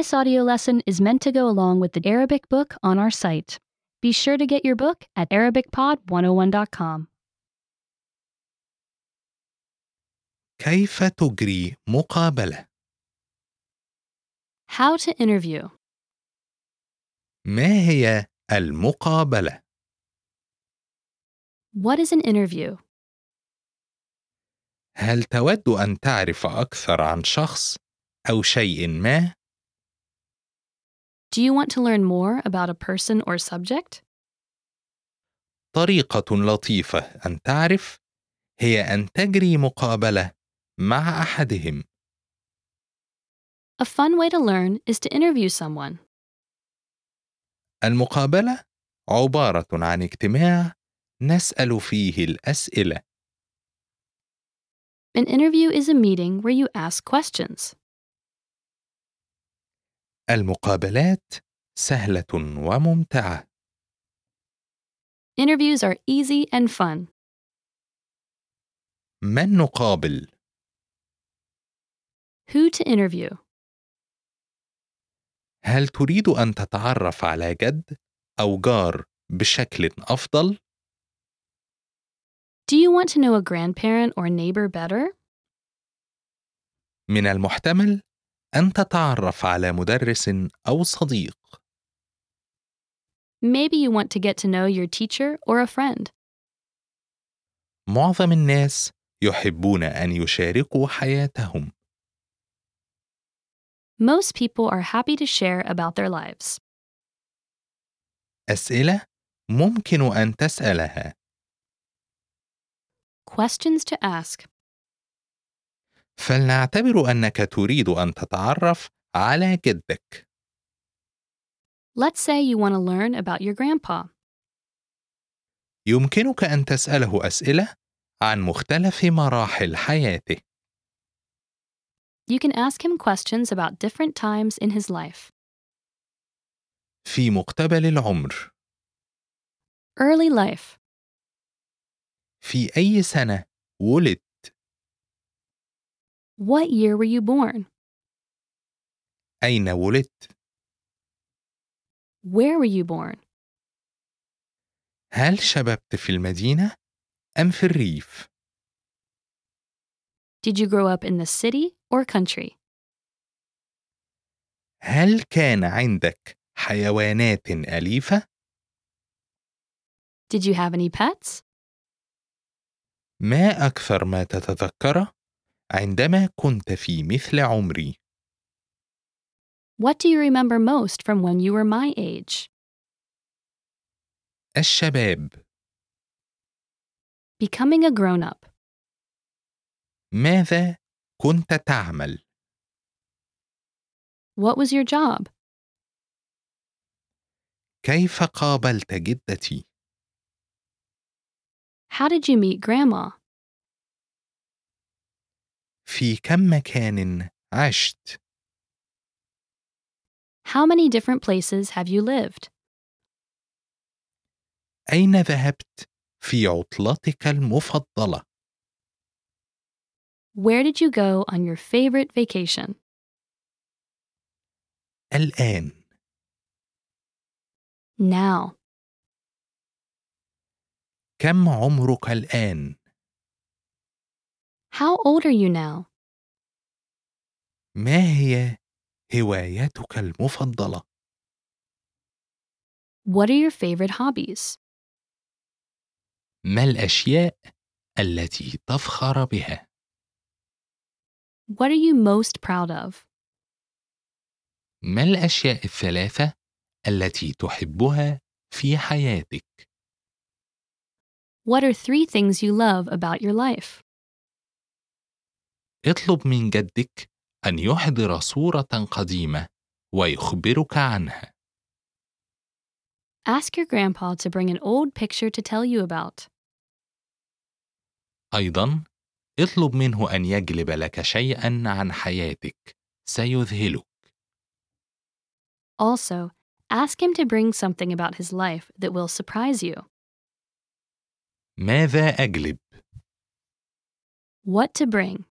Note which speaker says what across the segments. Speaker 1: This audio lesson is meant to go along with the Arabic book on our site. Be sure to get your book at ArabicPod101.com.
Speaker 2: كيف تجري مقابلة؟
Speaker 1: How to interview.
Speaker 2: ما هي المقابلة؟
Speaker 1: What is an interview?
Speaker 2: هل تود أن تعرف أكثر عن شخص أو شيء ما؟
Speaker 1: Do you want to learn more about a person or subject?
Speaker 2: طريقة لطيفة أن تعرف هي أن تجري مقابلة مع أحدهم.
Speaker 1: A fun way to learn is to interview someone.
Speaker 2: المقابلة عبارة عن اجتماع نسأل فيه الأسئلة.
Speaker 1: An interview is a meeting where you ask questions.
Speaker 2: المقابلات سهلة وممتعة.
Speaker 1: Interviews are easy and fun.
Speaker 2: من نقابل؟
Speaker 1: Who to interview?
Speaker 2: هل تريد أن تتعرف على جد أو جار بشكل أفضل؟
Speaker 1: Do you want to know a grandparent or neighbor better?
Speaker 2: من المحتمل أن تتعرف على مدرس أو صديق.
Speaker 1: Maybe you want to get to know your teacher or a friend.
Speaker 2: معظم الناس يحبون أن يشاركوا حياتهم.
Speaker 1: Most people are happy to share about their lives.
Speaker 2: أسئلة ممكن أن تسألها.
Speaker 1: Questions to ask.
Speaker 2: فلنعتبر أنك تريد أن تتعرف على جدك.
Speaker 1: Let's say you want to learn about your grandpa.
Speaker 2: يمكنك أن تسأله أسئلة عن مختلف مراحل حياته.
Speaker 1: You can ask him questions about different times in his life
Speaker 2: في مقتبل العمر،
Speaker 1: early life,
Speaker 2: في أي سنة ولد؟
Speaker 1: what year were you born,
Speaker 2: أين ولدت؟
Speaker 1: where were you born,
Speaker 2: هل شببت في المدينة أم في الريف؟
Speaker 1: did you grow up in the city or country,
Speaker 2: هل كان عندك حيوانات أليفة؟
Speaker 1: did you have any pets,
Speaker 2: ما أكثر ما تتذكره عندما كنت في مثل عمري؟
Speaker 1: what do you remember most from when you were my age,
Speaker 2: الشباب،
Speaker 1: becoming a grown up,
Speaker 2: ماذا كنت تعمل؟
Speaker 1: what was your job,
Speaker 2: كيف قابلت جدتي؟
Speaker 1: how did you meet grandma,
Speaker 2: في كم مكان عشت؟
Speaker 1: how many different places have you lived,
Speaker 2: أين ذهبت في عطلتك المفضلة؟
Speaker 1: where did you go on your favorite vacation,
Speaker 2: الآن،
Speaker 1: now,
Speaker 2: كم عمرك الآن؟
Speaker 1: how old are you now,
Speaker 2: ما هي هوايتك المفضلة؟
Speaker 1: what are your favorite hobbies.
Speaker 2: ما الأشياء التي تفخر بها؟
Speaker 1: What are you most proud of?
Speaker 2: ما الأشياء الثلاثة التي تحبها في حياتك؟
Speaker 1: What are three things you love about your life?
Speaker 2: اطلب من جدك أن يحضر صورة قديمة ويخبرك عنها.
Speaker 1: Ask your grandpa to bring an old picture to tell you about.
Speaker 2: أيضاً، اطلب منه أن يجلب لك شيئاً عن حياتك، سيذهلك.
Speaker 1: Also, ask him to bring something about his life that will surprise you.
Speaker 2: ماذا أجلب؟
Speaker 1: What to bring.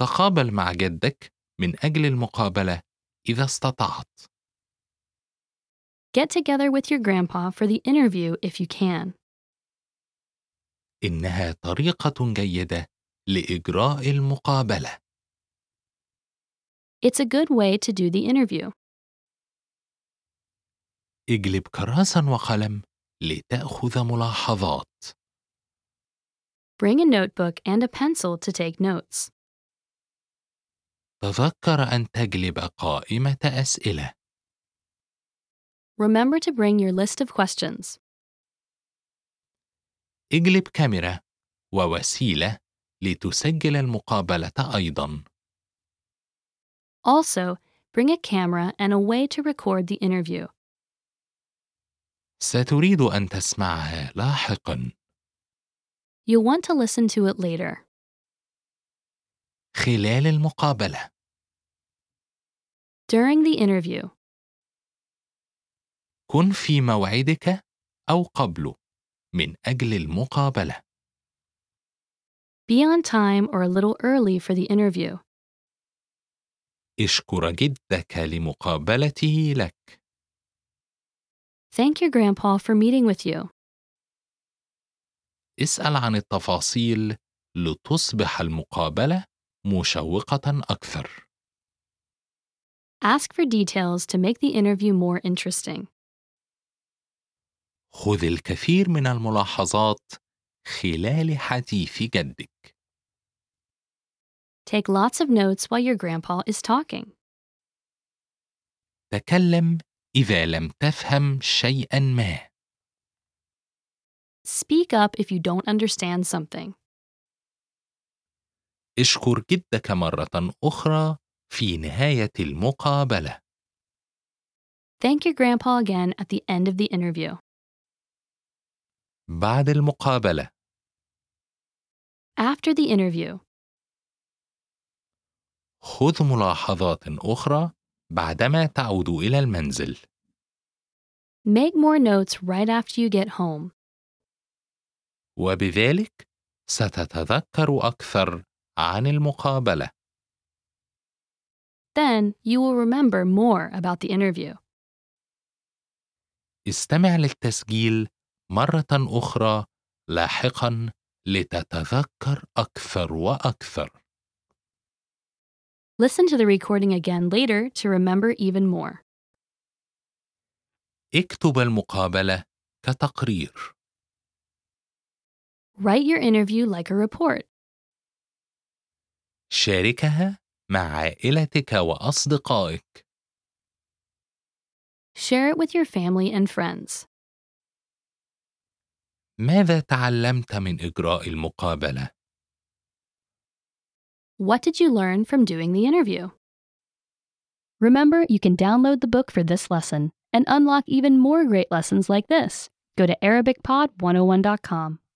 Speaker 2: تقابل مع جدك من أجل المقابلة إذا استطعت.
Speaker 1: Get together with your grandpa for the interview if you can.
Speaker 2: إنها طريقة جيدة لإجراء المقابلة.
Speaker 1: It's a good way to do the interview.
Speaker 2: اجلب كراسا وقلم لتأخذ ملاحظات.
Speaker 1: Bring a notebook and a pencil to take notes.
Speaker 2: تذكر أن تجلب قائمة أسئلة.
Speaker 1: Remember to bring your list of questions.
Speaker 2: اجلب كاميرا ووسيلة لتسجل المقابلة أيضاً.
Speaker 1: Also, bring a camera and a way to record the interview.
Speaker 2: ستريد أن تسمعها لاحقاً.
Speaker 1: You'll want to listen to it later.
Speaker 2: خلال المقابلة،
Speaker 1: During the interview,
Speaker 2: كن في موعدك أو قبله من أجل المقابلة.
Speaker 1: be on time or a little early for the interview.
Speaker 2: اشكر جدك لمقابلته لك.
Speaker 1: Thank your grandpa for meeting with you.
Speaker 2: اسأل عن التفاصيل لتصبح المقابلة مشوقة أكثر.
Speaker 1: Ask for details to make the interview more interesting.
Speaker 2: خذ الكثير من الملاحظات خلال حديث جدك.
Speaker 1: Take lots of notes while your grandpa is talking.
Speaker 2: تكلم إذا لم تفهم شيئًا ما.
Speaker 1: Speak up if you don't understand something.
Speaker 2: اشكر جدك مرة أخرى في نهاية المقابلة.
Speaker 1: Thank your grandpa again at the end of the interview.
Speaker 2: بعد المقابلة،
Speaker 1: After the interview,
Speaker 2: خذ ملاحظات أخرى بعدما تعود إلى المنزل.
Speaker 1: make more notes right after you get home.
Speaker 2: وبذلك ستتذكر أكثر عن المقابلة.
Speaker 1: Then you will remember more about the interview.
Speaker 2: استمع للتسجيل مرة أخرى لاحقًا لتتذكر أكثر وأكثر.
Speaker 1: Listen to the recording again later to remember even more.
Speaker 2: اكتب المقابلة كتقرير.
Speaker 1: Write your interview like a report.
Speaker 2: شاركها مع عائلتك وأصدقائك.
Speaker 1: Share it with your family and friends.
Speaker 2: ماذا تعلمت من إجراء المقابلة؟
Speaker 1: What did you learn from doing the interview? Remember, you can download the book for this oh lesson and unlock even more great lessons like this. Go to ArabicPod101.com.